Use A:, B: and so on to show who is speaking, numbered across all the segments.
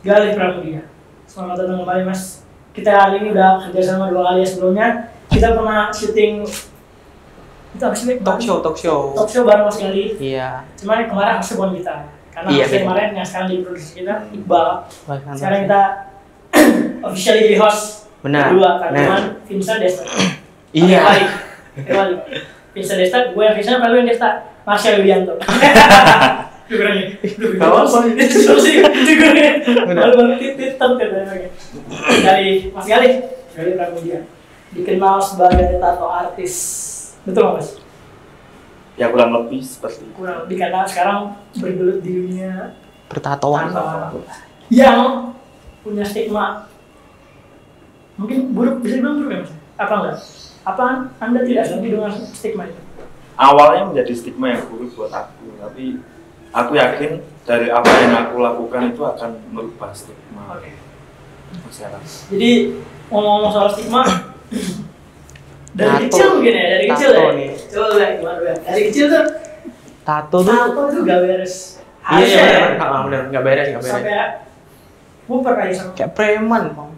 A: Galih Pramudia. iya. Selamat datang kembali Mas. Kita hari ini udah kerja sama dua kali ya sebelumnya. Kita pernah syuting itu apa sih? Bek?
B: talk show talk show
A: Talk show bareng Mas Galih.
B: iya
A: Cuman yang kemarin aksi bukan kita. Karena
B: Iya,
A: aksi
B: betul. Nah,
A: kemarin yang sekarang jadi produser kita Iqbal.
B: bahkan
A: Sekarang kita officially jadi host.
B: Benar,
A: Kedua,
B: benar.
A: Kak Vincent Desta.
B: iya
A: Kembali. Kembali. Vincent Desta, gue yang Vincent, lalu yang Desta. Marsha Widianto. Figuranya.
B: Gak apa-apa.
A: Itu sih figuranya.
B: Benar.
A: Baru baru titit Dari Mas Galih. Dari Pramudia. Dikenal sebagai tato artis. Betul nggak, Mas?
C: ya kurang lebih seperti itu
A: Kurang lebih karena sekarang bergelut di dunia
B: bertatoan
A: Tato. yang punya stigma mungkin buruk bisa dibilang buruk ya mas apa enggak apa anda tidak setuju dengan stigma itu
C: awalnya menjadi stigma yang buruk buat aku tapi aku yakin dari apa yang aku lakukan itu akan merubah stigma masyarakat
A: jadi ngomong-ngomong soal stigma dari
B: Tato.
A: kecil mungkin ya dari kecil
B: Tato
A: ya
B: nih.
A: coba lah gimana Bel? dari kecil tuh
B: tato tuh
A: tato tuh gak beres
B: iya iya
A: Harusnya ya.
B: benar Ah, benar nggak beres nggak beres
A: sampai gue pernah ya sama
B: kayak preman Bang.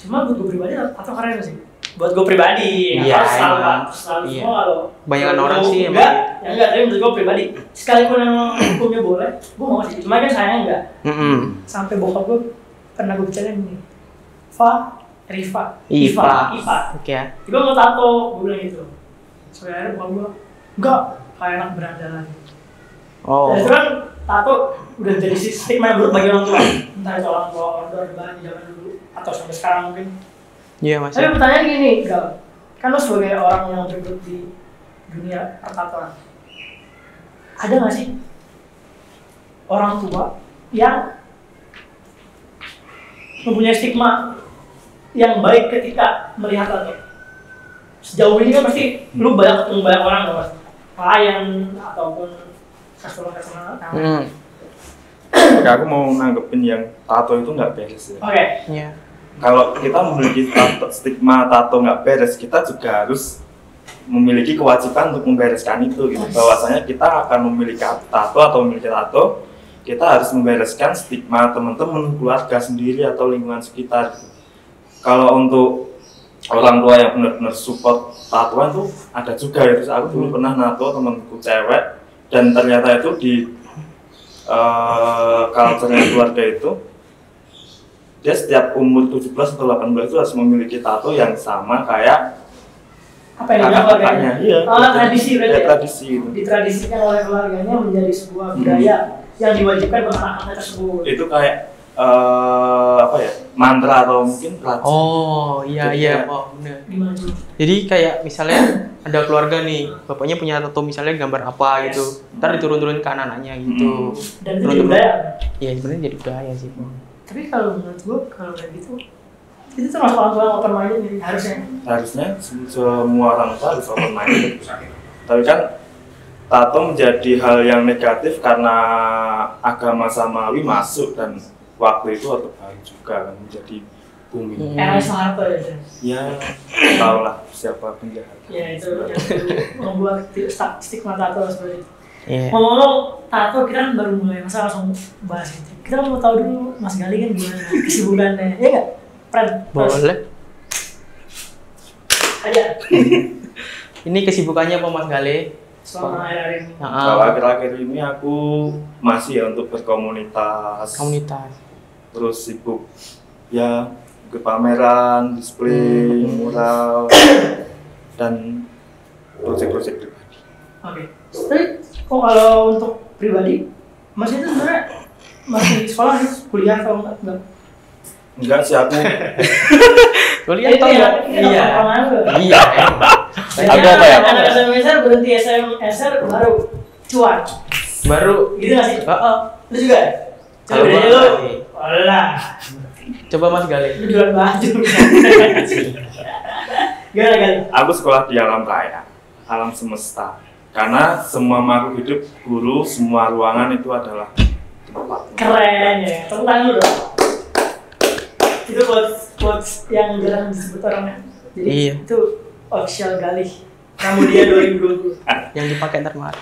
A: cuma buat gue pribadi atau keren sih buat gue pribadi
B: Iya,
A: nggak harus selalu
B: emang.
A: selalu
B: Iya.
A: semua kalau
B: Kebanyakan
A: kalau
B: orang
A: gua
B: sih
A: enggak ya enggak tapi menurut gue pribadi sekalipun emang hukumnya boleh gue mau sih cuma kan sayang enggak
B: Mm-mm.
A: sampai bokap gue pernah gue bicara gini Fa Rifa
B: Iva
A: Iva
B: oke ya
A: gue mau tato gue bilang gitu sebenarnya bokap gue enggak kayak anak berandalan
B: oh
A: dan itu kan tato udah jadi stigma yang buruk bagi orang tua entah itu orang tua orang tua di zaman dulu atau sampai sekarang mungkin
B: iya mas
A: tapi pertanyaan gini, Gal. Kan lo sebagai orang yang bergelut di dunia pertaturan, ada nggak sih orang tua yang mempunyai stigma yang baik ketika melihat tato? Sejauh ini kan pasti lu banyak ketemu banyak orang dong, Mas. klien ataupun customer-customer. Nah,
B: hmm
C: Oke, aku mau nanggepin yang tato itu nggak beres ya
A: Oke,
B: iya
C: kalau kita memiliki tato- stigma tato nggak beres kita juga harus memiliki kewajiban untuk membereskan itu gitu bahwasanya kita akan memiliki tato atau memiliki tato kita harus membereskan stigma teman-teman keluarga sendiri atau lingkungan sekitar gitu. kalau untuk orang tua yang benar-benar support tatoan tuh ada juga ya terus aku dulu pernah nato temanku cewek dan ternyata itu di eh culture keluarga itu dia setiap umur 17 atau 18 itu harus memiliki tato yang sama kayak
A: apa yang dilakukan
C: kakak-kakaknya. Iya.
A: Oh, tradisi berarti
C: Ya,
A: ya?
C: tradisi itu.
A: ditradisikan oleh keluarganya menjadi sebuah budaya yang diwajibkan pada anak-anak tersebut.
C: Itu kayak eh, apa ya? Mantra atau mungkin racun.
B: oh iya
C: Jadi
B: iya
C: kayak-
B: oh benar
A: Gimana tuh?
B: jadi kayak misalnya ada keluarga nih bapaknya punya tato misalnya gambar apa gitu ntar diturun-turun ke anak-anaknya gitu
A: Dan itu jadi
B: Turun-turun.
A: budaya.
B: Iya sebenarnya jadi budaya sih
A: Tapi kalau menurut gua kalau kayak gitu itu termasuk orang tua yang open minded nih harusnya.
C: Harusnya se- semua orang tua harus open minded. Tapi kan tato menjadi hal yang negatif karena agama samawi masuk dan waktu itu waktu baru juga kan menjadi booming.
B: Hmm.
A: Era Soeharto ya. Zen.
C: Ya, tahulah siapa penjahat.
A: Ya itu yang membuat ti- sta- stigma tato seperti itu.
B: iya
A: Ngomong-ngomong tato kita kan baru mulai masa langsung bahas gitu. Kita mau tahu dulu Mas Gali kan gimana kesibukannya, ya nggak? Pren,
B: boleh
A: aja.
B: Hmm. ini kesibukannya apa mas Gale
A: Selama akhir-akhir ini.
C: Kalau
B: Nah,
C: akhir-akhir ini aku masih ya untuk berkomunitas,
B: komunitas
C: terus sibuk ya ke pameran, display,
A: Hmm.
C: mural, dan proyek-proyek pribadi.
A: Oke. Tapi kok kalau untuk pribadi, Mas itu sebenarnya masih sekolah sih, kuliah atau enggak? enggak?
C: Enggak sih aku,
B: kuliah
A: Itu
B: toh
A: ya, itu
B: iya
A: pertemanan tuh.
B: iya emang.
A: Biasanya
C: Agak apa ya?
A: Anak SMA SR berhenti SMSR baru cuan.
B: baru
A: Gitu nggak sih?
B: Oh, oh.
A: Lu juga? ya?
B: Kalau
A: Coba
B: gua
A: deh, lu.
B: sih.
A: Olah,
B: coba mas Gale
A: lu jualan baju. Gimana kan?
C: aku sekolah di alam raya, alam semesta. Karena semua makhluk hidup, guru, semua ruangan itu adalah tempat.
A: Keren ya. Tepuk tangan dulu dong. Itu quotes quotes yang jarang disebut orangnya. Jadi
B: Iya.
A: itu official galih. Pramudia 2020.
B: yang dipakai ntar Mar.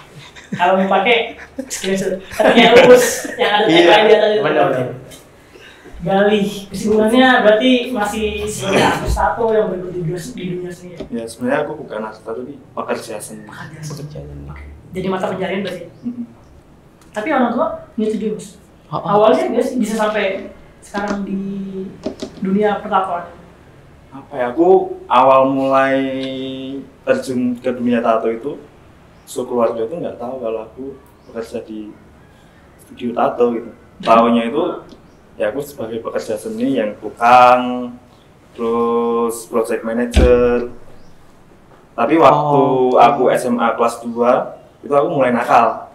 A: Kalau mau pakai screenshot. Tapi yang lurus yang ada
B: Iya,
A: tagline di atas itu.
B: benar, benar.
A: Galih kesimpulannya berarti masih sebagai artis tato yang berikut di dunia, di dunia sendiri.
C: ya sebenarnya aku bukan artis tato tapi pekerja seni
A: Pekerjaan seni.
B: pekerjaan ini.
A: Jadi mata pencarian berarti.
C: Mm-mm.
A: Tapi orang tua menyetujui mas.
B: Oh, oh.
A: Awalnya guys bisa sampai sekarang di dunia pertatoan.
C: apa ya aku awal mulai terjun ke dunia tato itu so keluarga tuh nggak tahu kalau aku bekerja di studio tato gitu tahunya itu ya aku sebagai pekerja seni yang tukang terus project manager tapi waktu
B: Oh.
C: aku SMA kelas 2 itu aku mulai nakal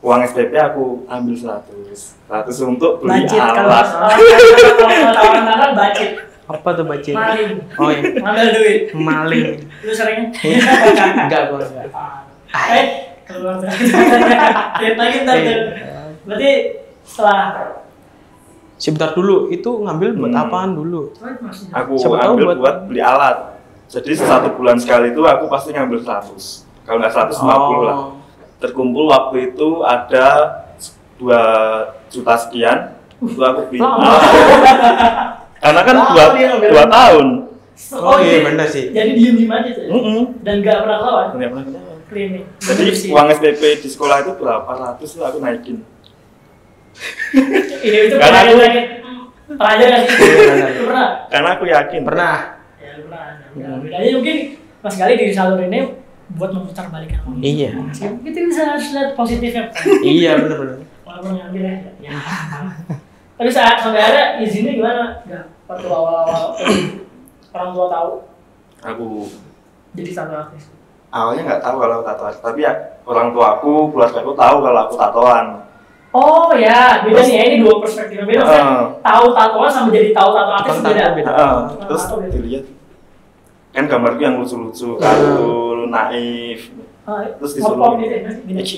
C: uang SPP aku ambil 100 100 untuk beli
A: Bacit kalau
C: alat
A: kalau tawaran tawaran bacit,
B: apa tuh bacin
A: maling,
B: oh iya
A: ngambil duit.
B: maling
A: Lu seringnya?
B: Iya. enggak gua enggak
A: Eh, keluar dari. Lihat lagi ntar. ntar.
B: Eh,
A: Berarti setelah
B: sebentar dulu itu ngambil buat
C: Hmm.
B: apaan dulu
C: aku
B: Siapa tahu
C: ambil buat,
B: buat-
C: beli alat jadi satu bulan sekali itu aku pasti ngambil 100 kalau nggak 150 lah
B: oh
C: terkumpul waktu itu ada 2 juta sekian itu aku beli
A: Lama.
C: alat karena kan
A: Lama
C: dua,
A: dia ngambil.
C: dua tahun
B: Oh, iya, bener sih.
A: Jadi diem diem aja tuh. ya?
C: Mm-mm.
A: Dan nggak pernah lawan.
C: Nggak pernah ketahuan.
A: Klinik.
C: jadi uang SPP di sekolah itu berapa ratus itu aku naikin
A: Ini Iya, itu
C: Karena
A: pelajaran
C: aku-
A: lagi. Pelajaran sih.
B: Iya, bener.
A: Lu Pernah.
C: karena aku yakin
B: pernah
A: Ya lu pernah. Ya, Bedanya mungkin Mas Gali di salur ini buat memutar balikan uang.
B: iya
A: Meskipun Kita bisa harus lihat positifnya.
B: iya bener bener
A: Walaupun ngambil ya. ya. Tapi saat sampai ada izinnya gimana? Nggak. Waktu awal-awal orang tua tahu
C: aku
A: jadi satu artis.
C: awalnya nggak tahu kalau aku tatoan tapi ya orang tua aku keluarga aku tahu kalau aku tatoan
A: Oh ya, beda nih ya. Ini dua perspektif yang beda. Maksudnya,
C: Heeh.
A: tahu tatoan sama jadi tahu tato artis
B: Tahu
A: beda.
B: tatoan beda.
C: Ah,
A: Nah,
C: terus
A: atau gitu.
C: dilihat kan gambarku yang lucu-lucu, kartun, naif.
A: Ah,
C: Terus
A: pop-up
C: disuruh
A: gitu ya, beda.
C: ini Ci,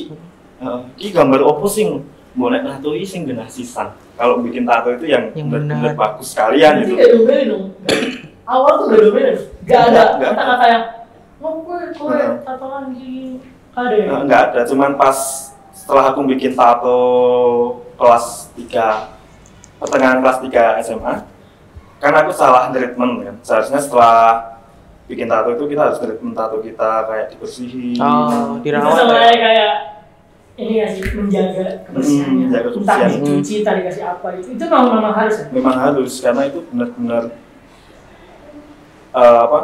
C: eh, ini gambar opo sing boleh tato ini sing genah sisan. Kalau bikin tato itu yang Iya,
B: Yang
C: benar-benar
B: benar.
C: bagus sekalian gitu.
A: Jadi
C: itu.
A: kayak domelin dong. Awal tuh udah domelin. Gak ada
C: Enggak, enggak.
A: kata-kata yang mau gue gue
C: Heeh.
A: tatoan gini. Ada ya.
C: Eh, Enggak ada, cuman pas setelah aku bikin tato kelas 3 pertengahan kelas 3 SMA karena kan aku salah treatment kan. Seharusnya setelah bikin tato itu kita harus treatment tato kita kayak dibersihin.
B: oh
A: Itu sama
B: dirawat ya.
A: aja kayak ini ya sih menjaga kebersihannya.
C: Hmm, menjaga
A: Entah
C: kebersihan.
A: dicuci, entah dikasih apa itu. Itu memang memang harus ya.
C: memang harus karena itu benar-benar eh, apa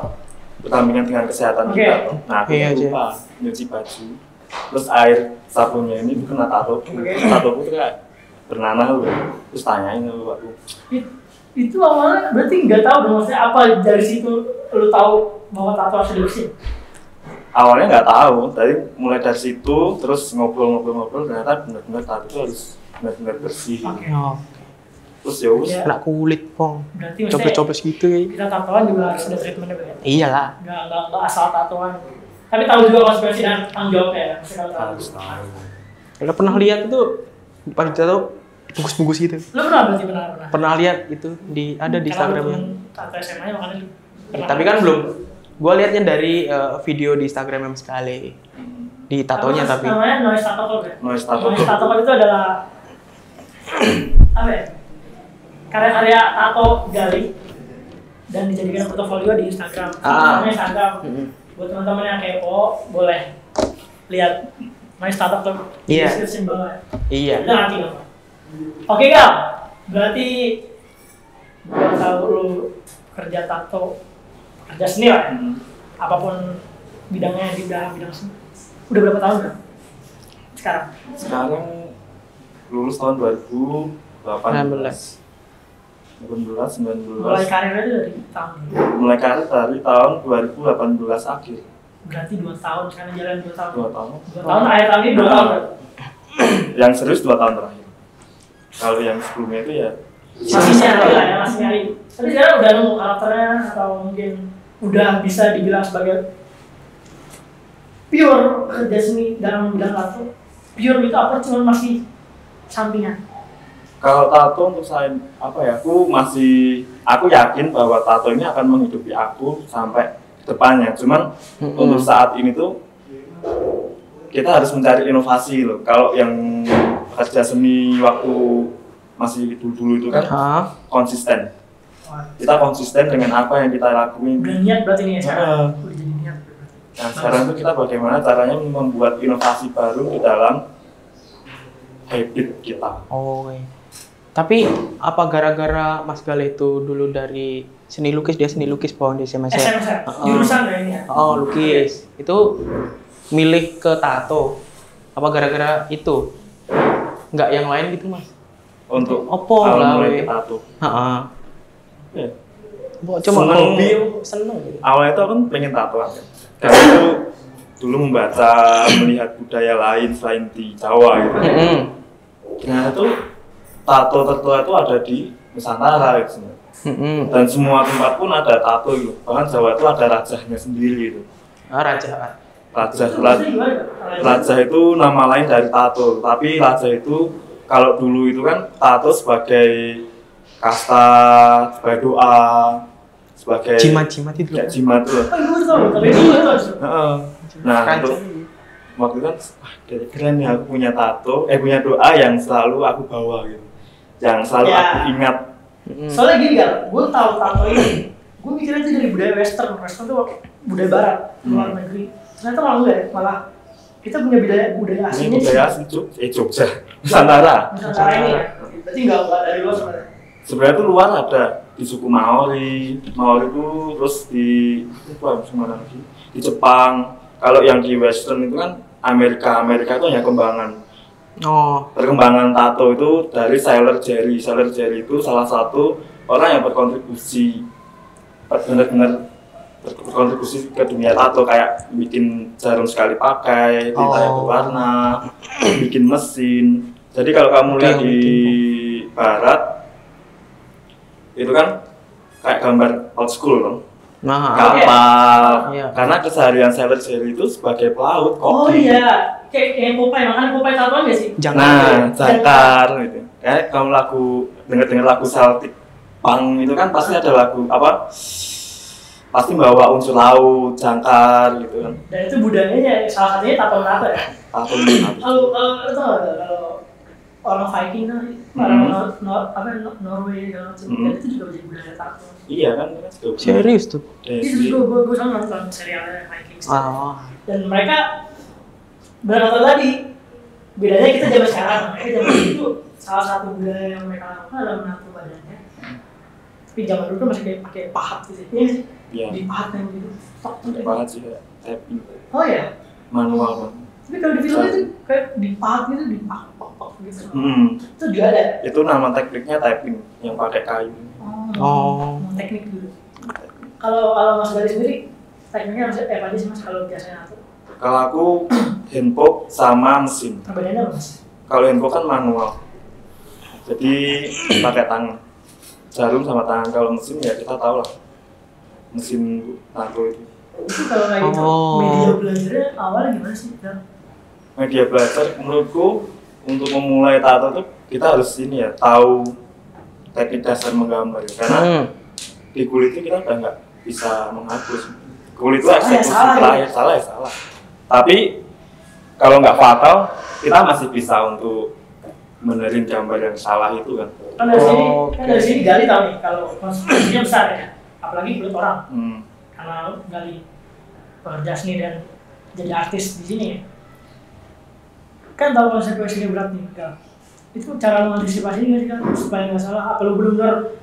C: pertandingan dengan kesehatan
A: Oke.
C: kita. Nah, aku
B: Iya,
C: lupa nyuci baju, terus air sabunnya ini tuh kena tato, tato tuh kayak bernanah loh. Terus tanyain loh aku,
A: It- itu awalnya berarti nggak tahu dong maksudnya apa dari situ lu tahu bahwa tato harus dibersihin.
C: awalnya nggak tahu, tapi mulai dari situ terus ngobrol-ngobrol-ngobrol ternyata benar-benar tato itu harus benar-benar bersih.
A: Oke.
B: Oh,
C: Terus ya wes,
A: Iya.
B: kena kulit pong
A: Berarti maksudnya
B: copes-copes gitu ya
A: kita tatoan juga harus ada treatmentnya beda.
B: iyalah
A: nggak nggak nggak asal tatoan tapi tahu juga konsekuensi dan tanggung jawabnya ya Maksudnya kalau tahu.
C: harus tahu.
B: udah pernah lihat itu pada tato bungkus-bungkus gitu
A: lu pernah berarti pernah pernah
B: pernah lihat itu di ada di
A: Karena lu
B: Instagramnya
A: temen tato SMA nya makanya lu pernah.
B: tapi kan belum gue liatnya dari eh, video di Instagram yang sekali di tatonya
A: Apa
B: tapi
A: namanya noise tato club ya
C: Noise tato
A: noise
C: club.
A: tato club itu adalah apa ya karya-karya tato gali dan dijadikan portofolio di Instagram
B: Ah.
A: Namanya Instagram
B: Mm-mm.
A: buat teman-teman yang kepo boleh lihat noise tato club di
B: Iya.
A: description bawah ya. Itu
B: iya
A: nanti dong. Oke Gal, berarti gua tahu lu kerja tato, kerja seni lah, ya?
C: Hmm.
A: apapun bidangnya di dalam bidang seni. Udah berapa tahun kan? Sekarang.
C: Sekarang lulus tahun 2018.
B: 16.
C: 18, 19.
A: Mulai karirnya itu dari tahun ini.
C: Mulai karir dari tahun 2018 akhir.
A: Berarti dua tahun, sekarang jalan dua tahun.
C: Dua tahun.
A: Dua tahun, akhir tahun ini dua tahun. kan?
C: Yang serius dua tahun terakhir. Kalau yang sebelumnya itu ya
A: Masih nyari lah ya, masih nyari. Tapi sekarang udah nemu karakternya atau mungkin udah bisa dibilang sebagai pure kerja seni dalam bidang tato pure itu apa cuman masih sampingan
C: kalau tato untuk saya apa ya aku masih aku yakin bahwa tato ini akan menghidupi aku sampai depannya cuman
B: Mm-mm.
C: untuk saat ini tuh kita harus mencari inovasi loh kalau yang kerja seni waktu masih dulu-dulu itu kan
B: Hah?
C: konsisten.
A: Wah.
C: Kita konsisten dengan apa yang kita
A: Udah
C: lakuin.
A: niat berarti nih ya sekarang.
C: Nah,
A: Udah jadi niat.
C: Nah, sekarang itu kita bagaimana caranya membuat inovasi baru di dalam habit kita.
B: Oh, oke. Tapi apa gara-gara Mas Galih itu dulu dari seni lukis dia seni lukis pohon di SMS? ya?
A: SMS ya?
B: Heeh.
A: Jurusan ya ini ya?
B: Oh, lukis. Itu milih ke tato. Apa gara-gara itu? Nggak yang lain gitu, Mas.
C: Untuk
B: Apa
C: awal
B: lah,
C: mulai
B: we?
C: ke tato.
B: Heeh.
C: Ya.
B: Mbok cuma
C: Seneng.
B: hobi seneng gitu.
C: awalnya itu aku kan pengen tatoan kan. Karena itu dulu membaca, melihat budaya lain selain di Jawa gitu.
B: Mm-mm.
C: Ternyata tuh tato tertua itu ada di Nusantara gitu. sebenarnya.
B: Mm-mm.
C: Dan semua tempat pun ada tato gitu. Bahkan Jawa itu ada rajahnya sendiri gitu.
B: Ah, raja.
C: Rajah,
A: Terus
C: rajah,
A: maksudnya gimana?
C: Rajah itu nama lain dari tato, tapi Rajah itu kalau dulu itu kan tato sebagai kasta, sebagai doa, sebagai
B: Jimat-jimat itu.
C: Ya, jimat tuh.
A: Oh, gue tau, tapi itu gue tau.
C: Heeh. Nah,
B: Raja.
C: untuk waktu itu kan wah, kira- keren ya aku punya tato, eh punya doa yang selalu aku bawa gitu. Yang selalu
A: Ya.
C: aku ingat. Hmm.
B: Mm-mm.
A: Soalnya gini kan, gue tahu tato ini. Gue mikirnya itu dari budaya western, western itu budaya barat, luar
C: Hmm.
A: negeri. Ternyata malah enggak, ya, malah kita punya budaya budaya
C: Ini
A: aslinya
C: budaya asli Jog- eh, Jogja, Nusantara.
A: Nusantara ini ya. Berarti enggak enggak dari luar sebenarnya.
C: Sebenarnya tuh luar ada di suku Maori, Maori itu terus di itu apa sih, mana lagi? Di Jepang. Kalau yang di Western itu kan Amerika, Amerika itu hanya kembangan.
B: Oh,
C: Perkembangan tato itu dari Sailor Jerry. Sailor Jerry itu salah satu orang yang berkontribusi benar-benar ber- berkontribusi ke dunia tato kayak bikin jarum sekali pakai, tinta
B: Oh.
C: yang berwarna, bikin mesin. Jadi kalau kamu
B: Oke,
C: lihat
B: yang
C: di barat itu kan kayak gambar old school dong.
B: nah.
C: Kapal.
B: Iya.
C: Karena keseharian Sailor Jerry itu sebagai pelaut koki.
A: Oh iya, kayak kayak Popeye, makanya Popeye tatoan nggak sih?
B: Jangan.
C: Nah, Zakar gitu. Kayak kamu lagu denger-denger lagu Celtic Punk itu kan pasti ada lagu apa? Pasti bawa unsur laut, jangkar gitu kan.
A: Dan itu budayanya ya, salah satunya tatoan apa ya?
C: Tato
A: Kalau kalau itu nggak ada, kalau orang Viking kan, orang Nor, Nor- apa Nor- Norway segala macam,
C: Hmm.
A: dan itu juga menjadi budaya Iya, tato.
C: Iya kan, itu kan juga
B: Nah.
C: punya
B: Serius tuh.
A: Itu
C: desi.
A: juga gue gue sama nonton serialnya Vikings.
B: Oh.
C: Ah.
D: Ah.
A: Dan mereka berkata tadi bedanya kita zaman sekarang, mereka zaman dulu itu salah satu budaya yang mereka lakukan adalah menato badannya. Tapi zaman dulu kan masih kayak pakai pahat gitu, ya,
C: Iya,
A: dipahat yang gitu. Tok, tok, tok.
C: banget sih kayak tapping
A: Oh ya,
C: manual banget.
A: tapi kalau di film itu kayak dipahat gitu, dipahat pok pok gitu.
C: Hmm,
A: Itu juga ada.
C: itu nama tekniknya tapping yang pakai kayu.
B: Oh.
A: Mau teknik dulu. Kalau kalau Mas Gali sendiri tekniknya harus eh tadi sih Mas kalau biasanya aku
C: Kalau aku handpok sama mesin.
A: perbedaannya apa Mas?
C: Kalau handphone kan manual. Jadi pakai tangan. Jarum sama tangan. Kalau mesin ya kita tahu lah. Mesin tato itu.
A: Itu kalau kayak gitu
B: Oh.
A: media belajarnya awalnya gimana sih? Dan
C: Media belajar menurutku untuk memulai tato tuh kita harus ini ya tahu teknik dasar menggambar ya. karena
B: Hmm.
C: di kulit itu kita udah nggak bisa menghapus kulit itu eksekusi
A: salah ya.
C: terakhir salah ya salah tapi kalau nggak fatal kita masih bisa untuk benerin gambar yang salah itu kan
A: kan dari sini
B: Oh,
A: kan
B: oke.
A: dari sini Gali tahu nih kalau konsumsinya besar ya. Apalagi kulit orang
C: Hmm.
A: karena Gali pekerja seni dan jadi artis di sini ya. Kan tahu konsekuensinya berat nih Gal. Itu cara mengantisipasi nggak sih Gal? supaya nggak salah? Apa lu benar-benar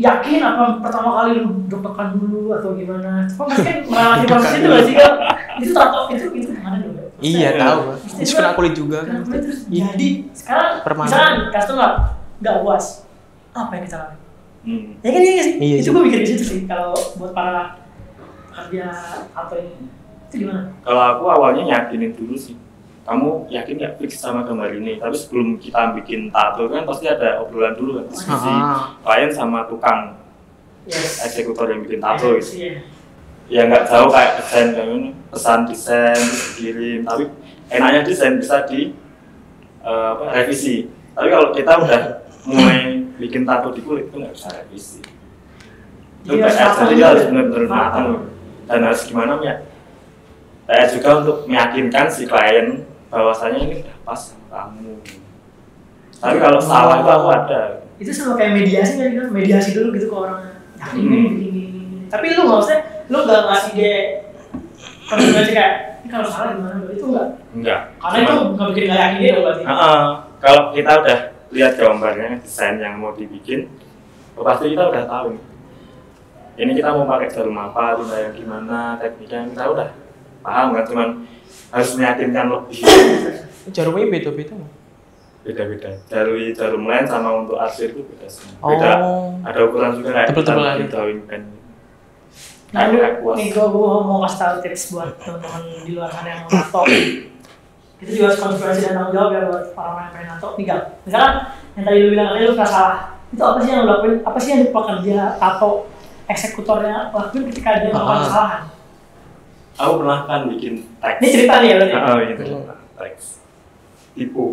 A: yakin apa pertama kali lu deg-degan dulu atau gimana? Kok pasti kan melewati proses itu gak sih Gal? Itu tato itu itu gimana dong? Gal? Maksudnya,
B: Iya
C: Iya.
B: tahu.
A: Maksudnya
B: Terus
A: itu
B: kena kulit juga
A: kena
B: kan.
A: kulit terus
B: Iya.
A: jadi sekarang
B: Permanen.
A: misalkan customer nggak puas apa yang kita lakukan?
C: Hmm.
A: Ya kan iya nggak sih?
B: Iya
A: itu
B: sih.
A: gue mikir di situ sih kalau buat para pekerja atau ini itu gimana?
C: Kalau aku awalnya yakinin dulu sih. Kamu yakin nggak fix sama gambar ini? Tapi sebelum kita bikin tato kan pasti ada obrolan dulu kan diskusi
B: Ah.
C: klien sama tukang
A: Yes.
C: eksekutor yang bikin tato gitu.
A: Iya.
C: Ya nggak jauh kayak desain kayak gini, pesan desain terus dikirim. Tapi enaknya desain bisa di eh, apa, revisi. Tapi kalau kita udah mulai bikin tato di kulit itu nggak bisa revisi. Itu
A: Jadi harus
C: PR
A: matang
C: jadi
A: gitu
C: harus
A: ya?
C: benar-benar matang
A: Matang.
C: loh. dan harus gimana ya? PR juga untuk meyakinkan si klien bahwasanya ini udah pas sama kamu. tapi
A: Iya.
C: kalau salah itu aku ada
A: itu sama kayak mediasi kan kan mediasi dulu gitu ke orang ya ini
C: Hmm.
A: begini begini, begini. tapi lu nggak usah lu nggak ngasih dia konfirmasi kayak ini kalau salah gimana itu nggak
C: enggak
A: karena itu nggak bikin nggak yakin dia dong berarti
C: Heeh. kalau kita udah lihat gambarnya desain yang mau dibikin oh, pasti kita udah tahu ini kita mau pakai jarum apa tinta yang gimana tekniknya kita udah paham kan cuman harus meyakinkan lebih
B: Jarumnya beda-beda. nggak?
C: beda-beda dari jarum lain sama untuk arsir itu beda semua. beda
B: Oh.
C: ada ukuran juga kayak
B: Tebel-tebelan.
C: kita kan. bikin drawing pen
A: nah lu
C: kayak kuas.
A: nih gua gua mau kasih tahu tips buat teman-teman di luar sana yang mau nato itu juga harus konfirmasi dan tanggung jawab ya buat orang yang pengen nato nih Gal. misalkan yang tadi lu bilang tadi lu nggak salah itu apa sih yang lu lakuin apa sih yang pekerja atau eksekutornya lakuin ketika dia melakukan
B: Ah.
A: kesalahan
C: aku pernah kan bikin teks
A: ini cerita nih ya berarti
C: Heeh, bikin cerita, teks tipu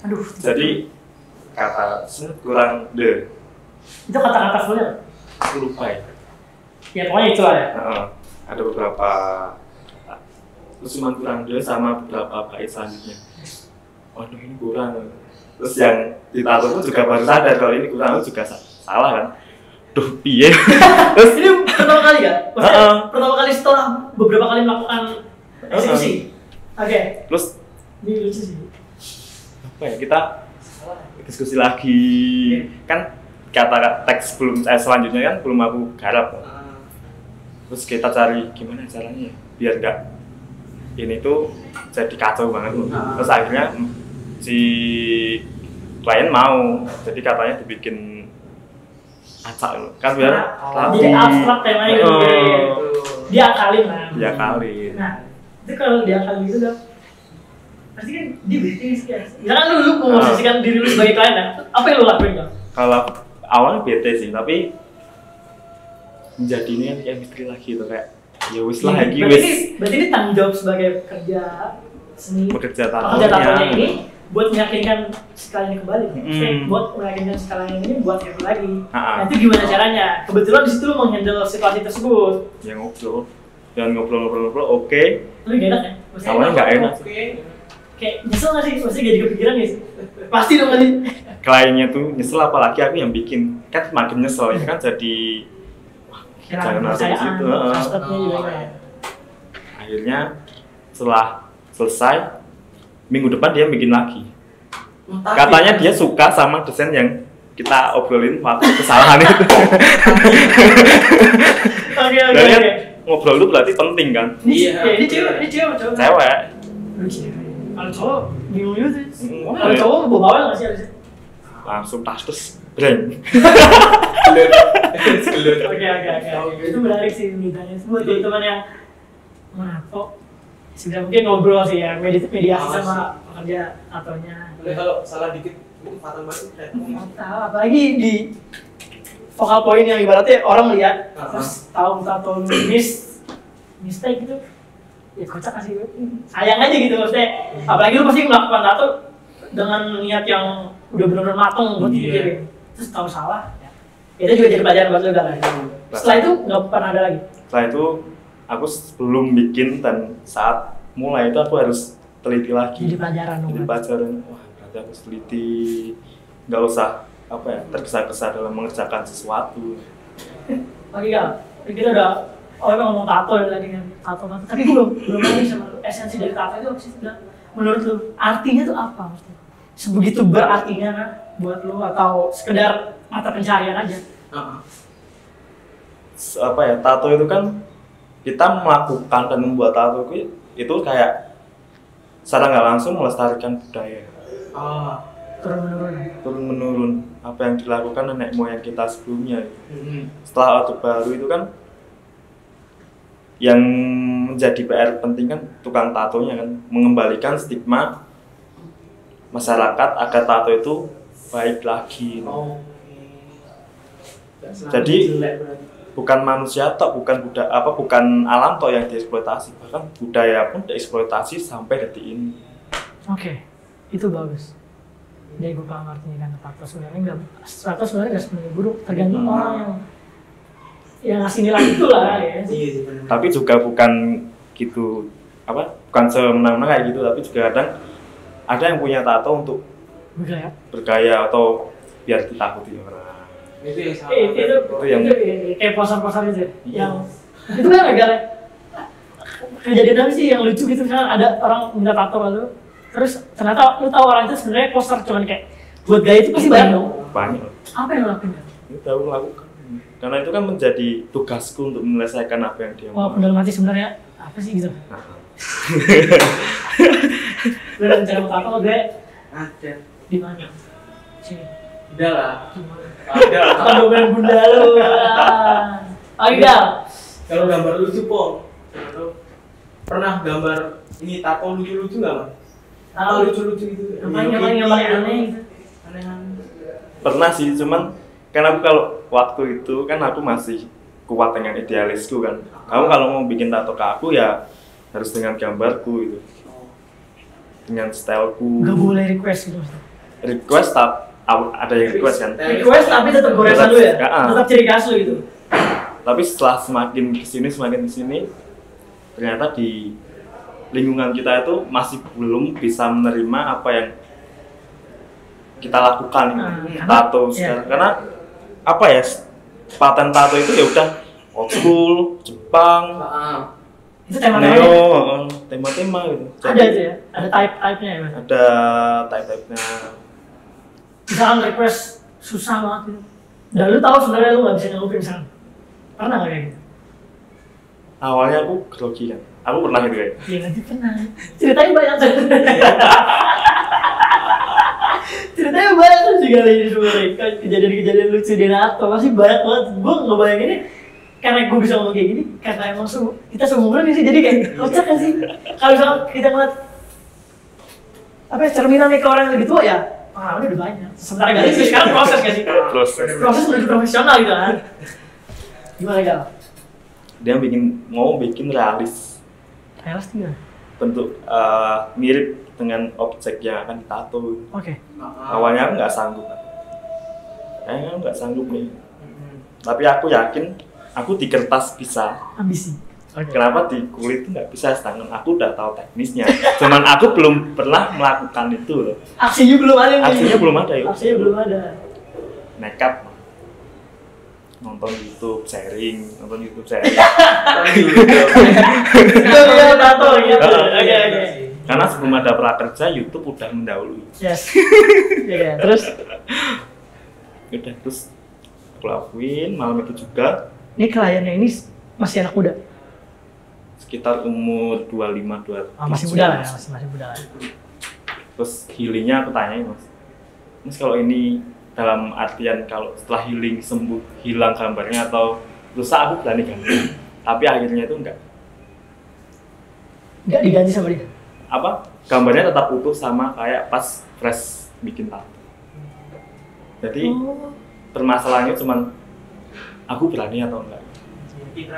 A: aduh
C: jadi kata se- kurang de
A: itu kata-kata fullnya
C: aku lupa ya
A: ya pokoknya itu lah ya
C: Heeh. ada beberapa terus cuma kurang dua sama beberapa bait selanjutnya waduh ini kurang terus yang ditaruh pun juga baru sadar kalau ini kurang aku juga sa- salah kan duh piye terus
A: ini pertama kali ya maksudnya
C: Heeh.
A: pertama kali setelah beberapa kali melakukan eksekusi oke
C: terus
A: ini lucu sih
C: apa ya kita diskusi lagi kan kata teks belum eh, selanjutnya kan belum aku garap terus kita cari gimana caranya ya biar nggak ini tuh jadi kacau banget loh. terus akhirnya mm, si klien mau jadi katanya dibikin acak loh. kan biar Oh.
A: Nah, jadi abstrak temanya gitu
C: Heeh.
A: dia akalin lah
C: ya kali
A: nah itu kalau dia akalin gitu dong pasti kan dia bisnis kan jangan lu lu
C: Ah.
A: memposisikan diri lu sebagai klien ya apa yang lu lakuin dong
C: kalau awalnya bete sih tapi menjadi ini kan kayak misteri lagi tuh kayak ya wis lah lagi
A: Iya, berarti
C: wis
A: ini, berarti ini tanggung jawab sebagai pekerja seni
C: bekerja ya, gitu.
A: pekerja tatonya Oh, ini
C: tatonya
A: buat meyakinkan sekalian kembali
C: Hmm. Ah,
A: Eh, buat meyakinkan sekalian ini buat happy lagi
C: Ha-ha.
A: nanti gimana caranya kebetulan di situ lu menghandle situasi tersebut
C: ya ngobrol jangan ngobrol-ngobrol-ngobrol oke
A: lu gak enak ya Maksudnya
C: awalnya nggak enak sih.
A: kayak nyesel gak sih pasti jadi kepikiran ya sih? pasti dong kali
C: kliennya tuh nyesel apalagi aku yang bikin kan makin nyesel ini kan jadi wah, jangan masuk ke situ eh. heeh.
A: trustednya juga
B: Oh,
A: ya.
C: akhirnya setelah selesai minggu depan dia bikin lagi katanya dia suka sama desain yang kita obrolin waktu kesalahan itu
A: oke oke
C: Berarti kan
A: oke
C: ngobrol itu berarti penting kan
A: ini
B: Iya.
A: ya, ini cewek ini cewek apa cowok
C: cewek
A: Lu cewek. kalau cowok bingung juga sih
C: Hmm,
A: kalau
C: iya.
A: cowok bawa bawel nggak sih harusnya
C: langsung tas terus breng
A: Oke oke oke. oke. Itu menarik sih beritanya. Buat teman-teman yang mana kok sebenarnya mungkin ngobrol sih ya medit mediasi
D: Awas.
A: sama pekerja atonya.
D: Boleh kalau salah dikit, mungkin fatal banget. kayak ngomong.
A: Tahu apalagi di vokal point yang ibaratnya orang lihat
D: Ah,
A: terus tahu tato lu miss mistake gitu ya kocak sih sayang aja gitu maksudnya
C: Hmm.
A: apalagi lu pasti melakukan tato dengan niat yang udah benar-benar mateng buat
C: Iya.
A: dipikirin. terus tahu salah ya itu juga jadi pelajaran buat lu kan
C: Iya.
A: setelah itu nggak pernah ada lagi
C: setelah itu aku sebelum bikin dan saat mulai itu aku harus teliti lagi
A: jadi pelajaran dong
C: jadi
A: Bang.
C: pacaran wah berarti aku teliti nggak usah apa ya tergesa-gesa dalam mengerjakan sesuatu
A: oke gal Ini kita udah oh emang ngomong tato ya tadi kan tato tato tapi gue belum belum nanya sama lu esensi dari tato itu apa sih Gal? menurut lu artinya tuh apa maksudnya sebegitu berartinya kan buat lu atau sekedar mata pencarian aja
D: Ah, ah.
C: S- apa ya tato itu kan kita melakukan dan membuat tato itu, itu kayak secara nggak langsung melestarikan budaya
D: Ah,
A: turun menurun
C: turun menurun apa yang dilakukan nenek moyang kita sebelumnya
D: mm-mm.
C: setelah orde baru itu kan yang menjadi PR penting kan tukang tatonya kan mengembalikan stigma masyarakat agar tato itu baik lagi
D: Oke. Nggak selalu
C: Jadi-
D: jelek berarti.
C: bukan manusia tok bukan budak apa bukan alam tok yang dieksploitasi bahkan budaya pun dieksploitasi sampai detik ini
A: oke itu bagus jadi gue paham artinya kan tato sebenarnya nggak tato sebenarnya nggak sebenarnya buruk tergantung
C: Hmm.
A: orang yang yang ngasih nilai itu lah ya
D: Iya sih benar.
C: tapi juga bukan gitu apa bukan semena-mena kayak gitu tapi juga kadang ada yang punya tato untuk
A: Bergaya.
C: bergaya atau biar ditakuti orang
D: itu yang salah
A: Eh, itu
C: Itu Oh, yang-
A: itu eh, kayak poster-poster itu
C: Iya.
A: yang itu kan agak kejadian apa sih yang lucu gitu kan ada orang minta tato lalu terus ternyata lu tahu orang itu sebenarnya poster cuman kayak buat gaya itu pasti banyak dong
C: banyak
A: apa yang lo lakuin ya?
C: itu tahu melakukan karena itu kan menjadi tugasku untuk menyelesaikan apa yang dia mau
A: walaupun dalam hati sebenarnya apa sih gitu
C: Nah,
A: gue udah mencari tato gue
D: ada
A: di mana sini
D: Nah, udah lah
A: di mana
D: ada lah.
A: Kan gue main bunda lu Oke Gal
D: kalau gambar lucu pong Atau pernah gambar ini tato lucu-lucu nggak mas tato
A: Tahu.
D: lucu-lucu gitu
A: Yang paling- yang paling- yang paling aneh gitu.
D: aneh-aneh
C: pernah sih cuman kan aku kalau waktu itu kan aku masih kuat dengan idealisku kan kamu kalau mau bikin tato ke aku ya harus dengan gambarku itu dengan styleku
A: Gak boleh request gitu maksudnya.
C: request tak ada yang request kan
A: Request tapi tetap goresan lu ya?
C: Ah.
A: Tetap ciri khas lu gitu
C: tapi setelah semakin kesini semakin kesini ternyata di lingkungan kita itu masih belum bisa menerima apa yang kita lakukan Nah,
A: Hmm,
C: tato
A: karena-
C: sekarang
A: iya.
C: karena apa ya paten tato itu ya udah old school Jepang
D: ah
A: Itu tema-temanya
C: neo eh, tema-tema gitu
A: Ada itu ya? Ada type-type-nya ya? Mas?
C: ada type-type-nya
A: Misalkan request susah banget gitu Dan lu tau sebenarnya lu gak bisa nyelupin misalkan Pernah gak kayak gitu?
C: awalnya aku grogi kan aku pernah gitu kayak
A: Iya nanti pernah Ceritanya banyak tuh Ceritanya banyak tuh juga nih sebenarnya Kan Kejadian-kejadian lucu di NATO Masih banyak banget Gue ngebayanginnya karena gue bisa ngomong kayak gini karena emang semu- kita seumuran sih jadi kayak kocak kan sih kalau misalkan kita ngeliat apa ya, cerminan nih ke orang yang lebih tua ya pengalamannya udah banyak sementara gak sih sekarang proses gak sih
C: proses
A: proses menuju profesional gitu kan gimana gal
C: dia bikin mau bikin realis
A: Relas tiga
C: bentuk eh, mirip dengan objek yang akan ditato.
A: oke Ah.
C: Awalnya aku nggak sanggup. Kayaknya aku nggak sanggup nih.
A: Mm-hmm.
C: Tapi aku yakin aku di kertas bisa.
A: ambisi
C: Kenapa di kulit tuh nggak bisa? Sedangkan aku udah tahu teknisnya. Cuman aku belum pernah melakukan itu loh.
A: aksinya belum ada nih
C: Aksinya belum ada yuk.
A: Iya. aksinya belum ada
C: Nekat nonton YouTube sharing, nonton YouTube sharing.
A: Iya. Itu dia tato gitu.
C: Heeh.
A: Oke oke.
C: Karena sebelum ada prakerja YouTube udah mendahului.
A: Yes. Iya, Iya, terus
C: Ya Udah terus aku lakuin malam itu juga
A: ini kliennya ini masih anak muda.
C: sekitar umur 25 20
A: Ah, masih muda lah ya, masih masih muda lah.
C: terus healingnya aku tanyain mas mas kalau ini dalam artian kalau setelah healing sembuh hilang gambarnya atau rusak aku berani ganti tapi akhirnya itu enggak
A: Enggak diganti sama dia.
C: apa gambarnya tetap utuh sama kayak pas fresh bikin tato jadi
A: Oh.
C: permasalahannya cuman aku berani atau enggak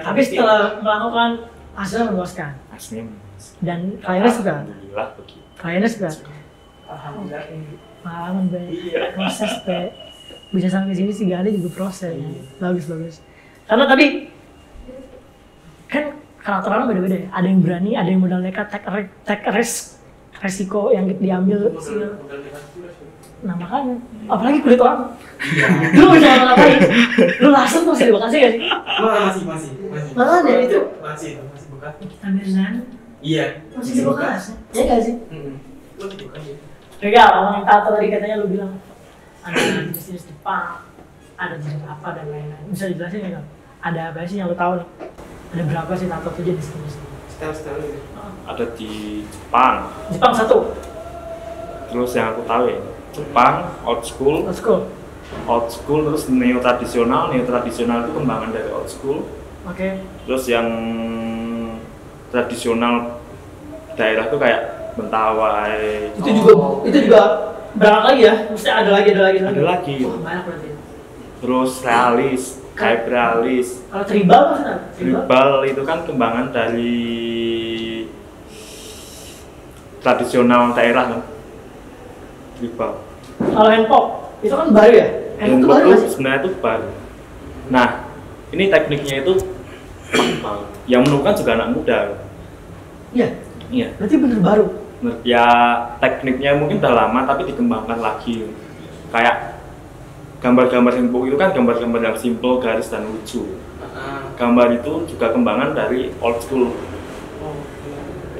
A: Tapi setelah melakukan hasilnya memuaskan
C: aslinya
A: dan kliennya suka.
C: alhamdulillah begitu
A: Kliennya suka.
D: alhamdulillah ini
A: Pengalaman baik.
C: iya
A: proses teh bisa sampai sini sih gak ada juga proses ya. bagus bagus karena tadi kan karakter orang beda-beda ya ada yang berani ada yang modal nekat take, ri- take risk resiko yang diambil
B: Iya.
A: sih. nah makanya apalagi kulit orang lu bisa ngapain lu langsung tuh sih terima kasih gak sih
D: masih masih masih
A: Mana ada itu?
D: masih masih bekas
A: kita mirzan
D: iya
A: masih di bekas ya gak sih
D: Mm-mm. masih bekas ya
A: Enggak, orang tato tadi katanya lu bilang ada jenis-jenis Jepang, ada jenis apa dan lain-lain. Bisa dijelasin nggak? Ada apa sih yang lu tahu nih? Ada berapa sih tato tuh jenis jenis?
D: style style ini
C: ada di Jepang
A: Jepang satu,
C: terus yang aku tahu ya Jepang old school
A: let's go.
C: old school terus neo tradisional neo tradisional itu kembangan dari old school
A: Oke,
C: terus yang tradisional daerah tuh kayak Mentawai
A: itu juga itu juga berangkat lagi ya. Mesti ada lagi ada lagi ada lagi.
C: ada lagi
A: Wah, Oh, banyak berarti.
C: terus realis kayak realis
A: Kalau tribal maksudnya? Tribal.
C: tribal itu kan kembangan dari tradisional daerah kan tribal
A: Kalau handpok itu kan baru ya? Handpok
C: yang
A: itu baru
C: baru
A: masih.
C: sebenarnya itu baru nah ini tekniknya itu yang menemukan kan juga anak muda
A: Iya,
C: iya
A: berarti bener baru.
C: Menurut ya tekniknya mungkin udah lama tapi dikembangkan lagi. Kayak gambar-gambar hempo itu kan gambar-gambar yang simple, garis dan lucu.
D: Ah,
C: Gambar itu juga kembangan dari old school,
D: oh,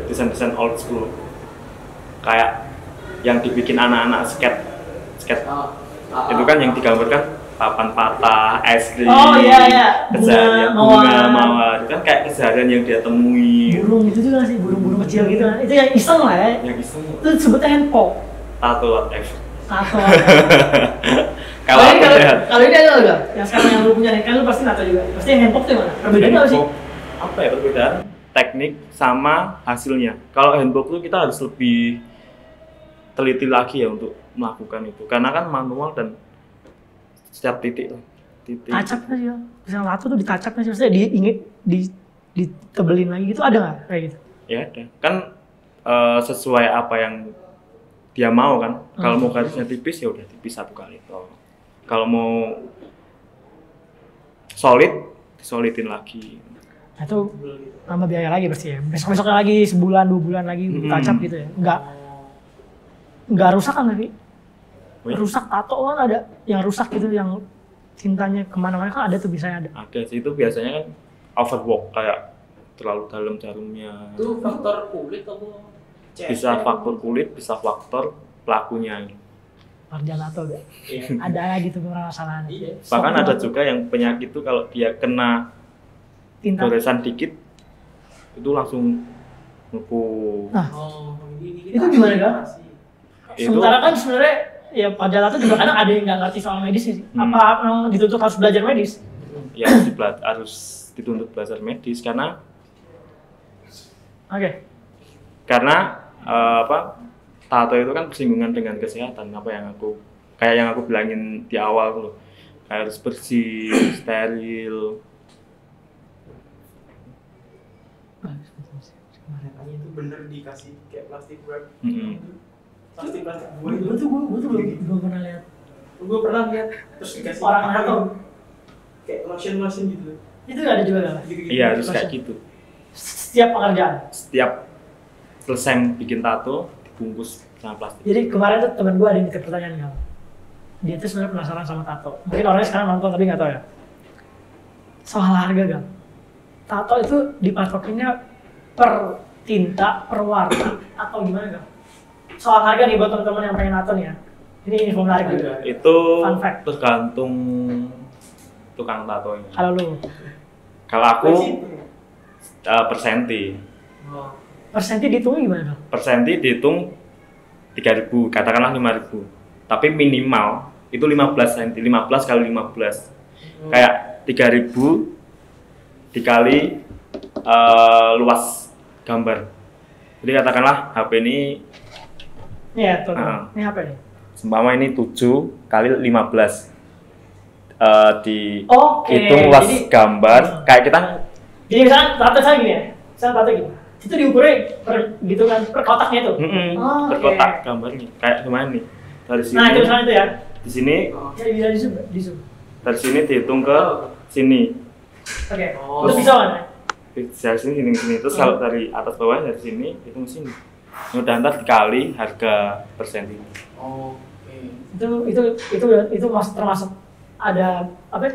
C: desain-desain old school. Kayak yang dibikin anak-anak skate, skate
D: ah, ah,
C: itu kan yang digambarkan papan patah, es krim,
A: Oh, iya, iya.
C: keseharian
A: Bunga,
C: bunga,
A: mawar.
C: mawar, itu kan kayak keseharian yang dia temui,
A: burung itu juga sih burung-burung kecil gitu kan itu yang iseng lah ya
C: yang iseng
A: itu sebutnya handpok
C: tato whatever.
A: tato
C: Kalau
A: ini
C: aku
A: kalau,
C: lihat
A: kalau ini ada udah yang sekarang yang lu punya kan lu pasti tato juga pasti yang handpok tuh yang mana perbedaannya apa sih
C: handbook, apa ya perbedaan teknik sama hasilnya. Kalau handbook tuh kita harus lebih teliti lagi ya untuk melakukan itu, karena kan manual dan setiap titik titik
A: tacapnya sih ya bisa tato tuh ditacapnya sih maksudnya diinget di ditebelin lagi gitu ada nggak kayak gitu
C: ya ada kan eh, sesuai apa yang dia mau kan kalau mau garisnya tipis ya udah tipis satu kali toh kalau mau solid disolidin lagi
A: nah itu tambah biaya lagi pasti ya besok besoknya lagi sebulan dua bulan lagi
C: Mm-mm.
A: tacap gitu ya nggak nggak rusak kan tapi
C: Wih.
A: rusak tato kan ada yang rusak gitu yang cintanya kemana-mana kan ada tuh biasanya ada
C: ada sih itu biasanya kan overwork kayak terlalu dalam jarumnya
D: itu faktor kulit apa cewek?
C: bisa faktor kulit bisa faktor pelakunya
A: kerja tato ada
D: Iya.
A: ada aja gitu permasalahan
D: Iya.
C: bahkan ada juga yang penyakit itu kalau dia kena
A: tinta
C: goresan dikit itu langsung melepuh
A: Nah,
D: Oh, ini- ini
A: Itu gimana, Kak?
D: masih.
C: itu
A: sementara kan sebenarnya ya pada tato juga kadang ada yang nggak ngerti soal medis sih
C: Hmm.
A: apa memang dituntut harus belajar medis
C: ya harus dibela- harus dituntut belajar medis karena
A: oke
C: karena eh, apa tato itu kan persinggungan dengan kesehatan apa yang aku kayak yang aku bilangin di awal tuh loh kayak harus bersih steril
D: Makanya itu bener dikasih kayak plastik wrap.
C: Mm-mm.
D: Plastik plastik buah itu.
A: gue tuh gue tuh belum belum pernah lihat
D: Gue pernah lihat terus dikasih
A: Orang
D: apa gitu.
A: tato.
D: Kayak lotion lotion gitu.
A: itu ada juga nggak?
D: Gitu-gitu.
C: iya harus kayak gitu
A: setiap pekerjaan
C: setiap selesai bikin tato dibungkus sama plastik
A: Jadi kemarin tuh temen gue ada yang nitip pertanyaan Gal. Dia tuh sebenarnya penasaran sama tato. Mungkin orangnya sekarang nonton tapi nggak tahu ya. Soal harga Gal. Tato itu dipatokinnya per tinta, per warna atau gimana Gal? Soal harga nih buat teman-teman yang pengen tato nih ya. Ini info menarik juga.
D: Ada.
C: itu
A: Fun fact.
C: tergantung tukang tatonya
A: Kalau lu
C: kalau aku
D: Kunci itu.
C: eh, persenti
D: Oh.
A: persenti dihitungnya gimana Gal?
C: persenti dihitung 3000 katakanlah 5000 tapi minimal itu 15 senti 15 kali 15
A: Hmm.
C: kayak 3000 dikali eh, luas gambar jadi katakanlah HP ini
A: Nih ya, tuh.
C: Ah.
A: Ini apa nih?
C: seumpama ini 7 kali 15 Eh, di
A: Oke,
C: hitung luas
A: jadi- Hmm.
C: gambar kayak kita
A: Jadi misalnya tato saya gini ya. Misalnya tato gini. Itu diukurnya per gitu kan, per kotaknya itu.
C: mm-mm,
A: Oh,
C: berkotak
A: oke.
C: gambarnya kayak gimana nih dari sini
A: Nah, itu misalnya itu ya.
C: di sini
D: Oh.
A: Jadi bisa di zoom, di zoom.
C: dari sini dihitung ke sini
A: Oke.
D: Oh.
A: Itu bisa mana?
C: dari sini sini sini terus kalau
A: Hmm.
C: dari atas bawah dari sini itu sini Ini udah ntar dikali harga persen ini
D: Oh, Oke.
A: Itu itu itu itu mas- termasuk ada apa? ya,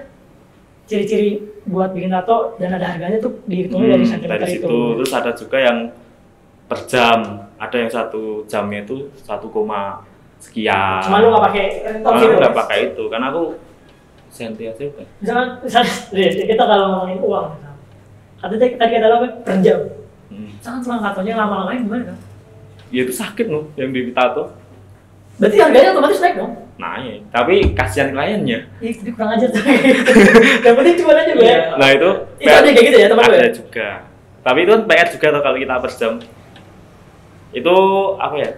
A: Ciri-ciri buat bikin tato dan ada harganya tuh dihitungnya dari
C: Hmm,
A: sentimeter
C: dari
A: itu.
C: situ terus ada juga yang per jam ada yang satu jamnya itu 1, koma sekian
A: Cuma lu nggak pakai
C: Karena
A: rentong
C: aku
A: gitu.
C: Ah, nggak pakai itu karena aku senti aja udah.
A: Misalkan misalkan nih, kita kalau ngomongin uang misalkan. Kata tadi tadi kata lo apa? Per jam.
C: Hmm.
A: Misalkan tukang tatonya lama-lama gimana kan?
C: ya itu sakit loh yang di tato
A: Berarti harganya otomatis naik dong.
C: naik iya. tapi kasihan kliennya
A: Ih, tapi kurang aja tuh. Yang penting cuma aja ya. gue.
D: Iya.
C: nah itu
A: Itu ada yang kayak gitu ya teman gue.
C: ada juga tapi itu kan PR juga tuh kalau kita per jam itu apa ya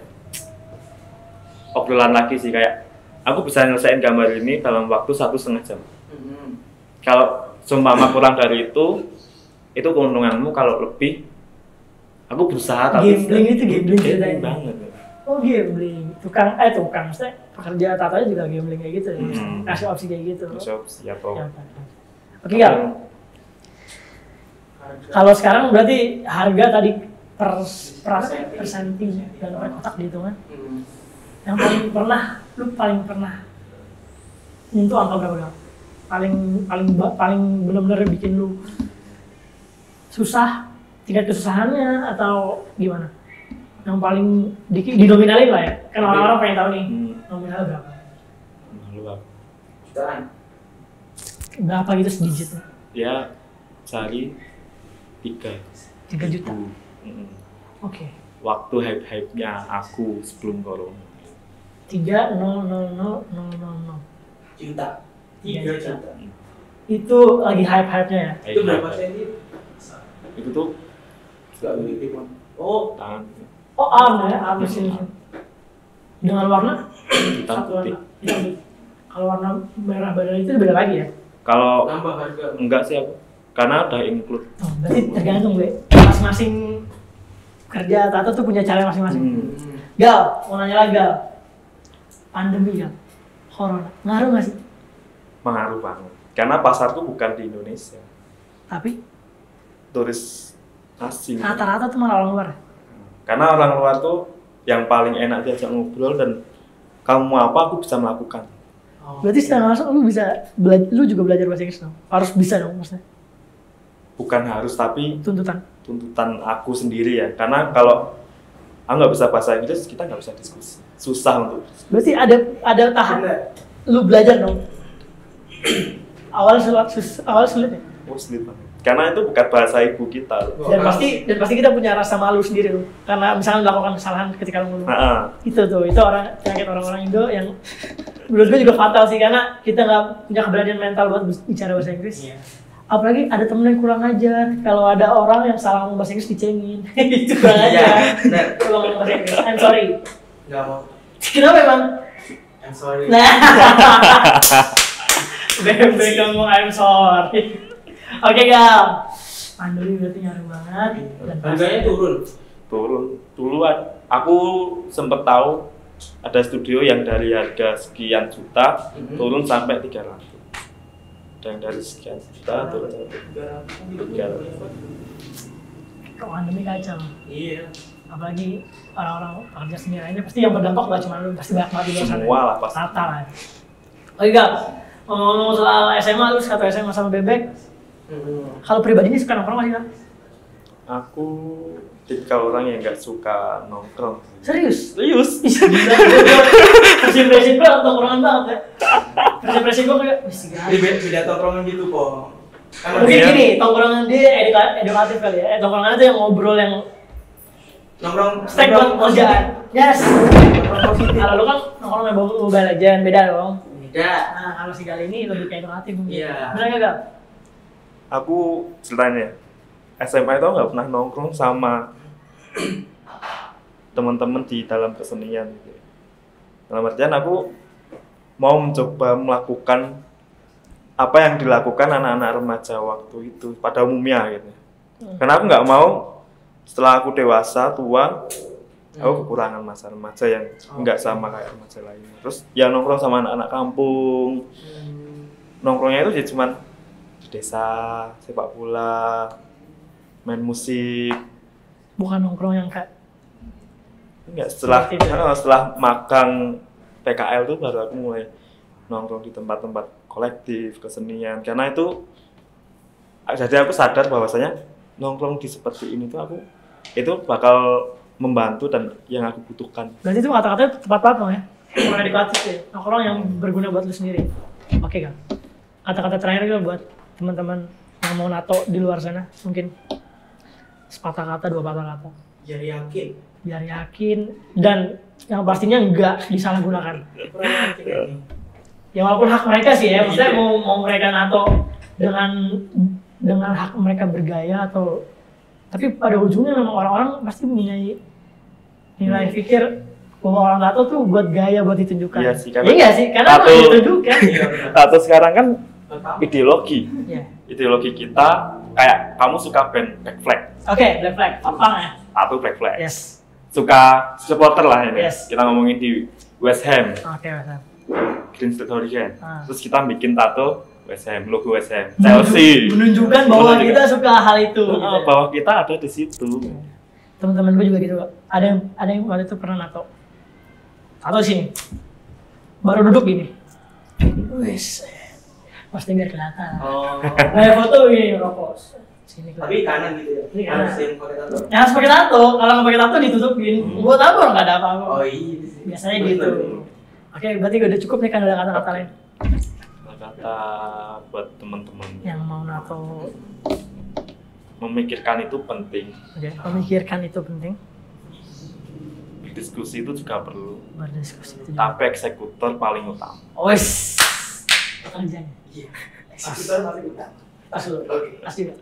C: obrolan lagi sih kayak aku bisa nyelesain gambar ini dalam waktu satu setengah jam
D: Mhm.
C: kalau seumpama kurang dari itu itu keuntunganmu kalau lebih aku berusaha tapi
A: Gambling itu gambling
C: Gambling
A: ceritanya.
C: banget
A: Oh gambling, tukang eh tukang maksudnya pekerja tatanya juga gambling kayak gitu ya,
C: Mm-mm.
A: kasih opsi kayak gitu.
C: Terus siapa
A: Ya, oke, oke. Oke Gal, kalau sekarang berarti harga tadi per persen persenting dan per kotak dihitungan yang paling pernah lu paling pernah itu angka berapa dong paling paling ba- paling benar-benar bikin lu susah tingkat kesusahannya atau gimana yang paling di, dinominalin lah ya kan orang-orang pengen tahu nih
C: Hmm.
A: nominal berapa
E: Lupa.
D: Jutaan.
A: berapa gitu sedikit
E: Ya sehari tiga
A: tiga juta
E: ribu.
C: Mm-mm.
A: oke
E: Waktu hype hype nya aku sebelum corona.
A: tiga nol nol nol nol nol nol
D: Juta.
A: Tiga
D: Tiga juta.
A: itu lagi hype hype nya ya
D: Itu
C: Eh,
E: Hype-hype.
D: berapa senti?
E: Itu tuh
D: Gak begitu pon. Oh,
E: tangan
A: oh arm ya arm sih dengan warna
E: hitam
A: satu
E: putih.
A: warna Hitam putih. kalau warna merah badan itu beda lagi ya
C: Kalau
D: nambah harga.
E: Enggak sih aku. Karena udah include.
A: oh, berarti tergantung gue masing-masing kerja tato tuh punya cara masing-masing
C: hmm,
D: Hmm.
A: gal mau nanya lagi gal pandemi gal corona ngaruh nggak sih
C: pengaruh banget. Karena pasarku bukan di Indonesia,
A: tapi
C: turis asing.
A: rata-rata tuh malah orang luar ya?
C: Karena orang luar tuh yang paling enak diajak ngobrol dan kamu apa aku bisa melakukan.
D: Oh.
A: berarti setelah masuk lu bisa bela- lu juga belajar bahasa Inggris dong harus bisa dong maksudnya
C: Bukan harus tapi
A: tuntutan
C: tuntutan aku sendiri ya. Karena kalau aku nggak bisa bahasa Inggris kita nggak bisa diskusi. Susah untuk
A: berarti ada ada tahap
D: Bener.
A: lu belajar dong awal sulit sus- awal sulit ya
C: oh, sulit banget. Karena itu bukan bahasa ibu kita. loh.
D: Wah,
A: dan
D: harus.
A: pasti dan pasti kita punya rasa malu sendiri loh karena misalnya melakukan kesalahan ketika lu ngomong
C: Nah, ah.
A: itu tuh itu orang penyakit orang-orang Indo yang menurut gue juga fatal sih karena kita nggak punya keberanian mental buat bicara bahasa Inggris
D: Iya.
A: apalagi ada temen yang kurang ajar kalau ada orang yang salah ngomong bahasa Inggris dicengin itu kurang
D: Iya,
A: ajar
D: bener.
A: kalau ngomong bahasa Inggris I'm sorry
D: Gak mau.
A: kenapa emang
D: I'm sorry.
A: Nah. Bebe ngomong I'm sorry. Oke, Gal. Panduri berarti nyaru banget. Dan
D: Harganya turun.
C: turun duluan aku sempet tahu ada studio yang dari harga sekian juta
D: Mhm.
C: turun sampai 300 dan dari sekian juta Ah, turun sampai
D: Tiga ratus.
C: Tiga ratus.
A: Kok pandemi kacau.
D: Iya.
A: Apalagi orang-orang pekerja seni lainnya pasti yang berdampak gak cuma lu, pasti banyak banget di luar sana.
C: Semua lah, pasti.
A: Rata lah. Oke, Gal. Ngomong-ngomong soal SMA, lu satu SMA sama Bebek.
D: Hmm.
A: Kalau pribadinya suka nongkrong aja, Gal?
C: aku tipikal orang yang nggak suka nongkrong
A: Serius?
C: serius
A: Prinsip-prinsip gue nongkrongan banget ya. Prinsip-prinsip gue kayak, "Wih, si Gal."
D: Jadi beda, beda tongkrongan gitu kok. Kan
A: Mungkin
C: Iya.
A: gini, tongkrongan dia eduka- edukatif kali ya. Eh, Tongkrongan itu yang ngobrol yang
D: nongkrong
A: stack buat
D: nongkrong-
A: kerjaan. Yes.
D: nongkrong positif.
A: Kalau lu kan nongkrong main bola bola legend beda dong.
D: Beda.
A: Nah, kalau si Gal ini lebih kayak edukatif mungkin.
D: Iya.
A: Benar nggak Gal?
C: aku ceritanya SMA itu aku nggak pernah nongkrong sama teman-teman di dalam kesenian gitu. dalam artian aku mau mencoba melakukan apa yang dilakukan anak-anak remaja waktu itu pada umumnya gitu karena aku nggak mau setelah aku dewasa tua aku kekurangan masa remaja yang nggak sama kayak remaja lainnya terus ya nongkrong sama anak-anak kampung nongkrongnya itu ya cuman di desa sepak bola main musik
A: Bukan nongkrong yang kayak
C: enggak setelah
A: Seperti itu. ya?
C: eh, setelah magang PKL tuh baru aku mulai nongkrong di tempat-tempat kolektif kesenian karena itu jadi aku sadar bahwasanya nongkrong di seperti ini tuh aku itu bakal membantu dan yang aku butuhkan
A: berarti itu kata-katanya tepat banget dong ya. Nongkrong edukatif ya. Nongkrong yang berguna buat lu sendiri. Oke Gal. Kata-kata terakhir Gal buat teman-teman yang mau nato di luar sana mungkin sepatah kata dua patah kata
D: Jadi yakin.
A: biar yakin dan yang pastinya nggak disalahgunakan.
D: Kurang yakin ini.
A: ya walaupun hak mereka sih ya maksudnya
D: Iya.
A: mau mau mereka nato dengan dengan hak mereka bergaya atau tapi pada ujungnya memang orang-orang pasti punya nilai pikir bahwa orang tato tuh buat gaya buat ditunjukkan
C: Hmm. Iya sih,
A: ya
C: karena
A: nggak sih karena
C: tato-
A: buat ditunjukkan
D: Iya benar.
C: atau sekarang kan
D: Pertama.
C: ideologi
A: Iya.
C: ideologi kita kayak kamu suka band Black Flag
A: oke black flag papang ya
C: atau Black Flag
A: yes
C: suka supporter lah ini
A: Yes.
C: kita ngomongin di West Ham
A: oke Mas.
C: Green Street Hurricane.
A: Ah.
C: Terus kita bikin tato West Ham, logo West Ham, Chelsea. Ah,
A: menunjukkan bahwa
C: Menunjukkan
A: gitu. kita suka hal itu
C: bahwa kita ada di situ.
A: teman-teman gue juga gitu ada yang ada yang waktu itu pernah nato atau sini baru duduk gini wis pasti biar kelihatan
D: Oh.
A: Kayak foto ini rokok sini kelihatan.
D: Tapi kanan gitu ya.
A: Ini kanan.
D: Harus yang pakai tato.
A: Ya, harus pakai tato. Kalau nggak pakai tato ditutupin. Gue tahu orang nggak ada apa-apa.
D: Hmm. Oh iya. sih.
A: Biasanya gitu. Oke, berarti udah cukup nih kan ada kata-kata lain
C: kata buat teman-teman
A: yang mau nato.
C: memikirkan itu penting
A: Oke, memikirkan itu penting.
C: diskusi itu juga perlu
A: Berdiskusi itu juga.
C: tapi eksekutor paling utama
A: Ois. Anjay.
D: Iya. Eksekutor masih utang.
A: Pas dulu.
D: Oke.
A: Pas juga.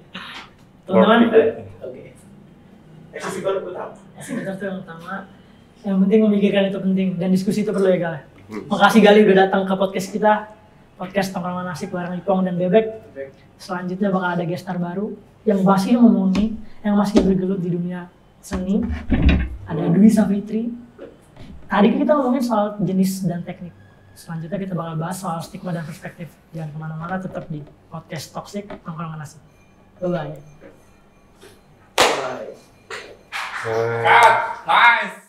A: Teman-teman,
D: Oke. eh. Eksekutor utang.
A: sebentar tuh yang utama. Yang penting memikirkan itu penting dan diskusi itu perlu ya Gal. Makasih Gali udah datang ke podcast kita. Podcast Tongkrongan Asik bareng Ipong dan Bebek. Selanjutnya bakal ada gestar baru yang masih memenuhi, yang masih bergelut di dunia seni. Ada Dwi Savitri. Tadi kita ngomongin soal jenis dan teknik. Selanjutnya kita bakal bahas soal stigma dan perspektif. Jangan kemana-mana, tetap di podcast Toxic Tongkrongan Asik. Bye-bye.
D: Bye.
F: Cut. Nice.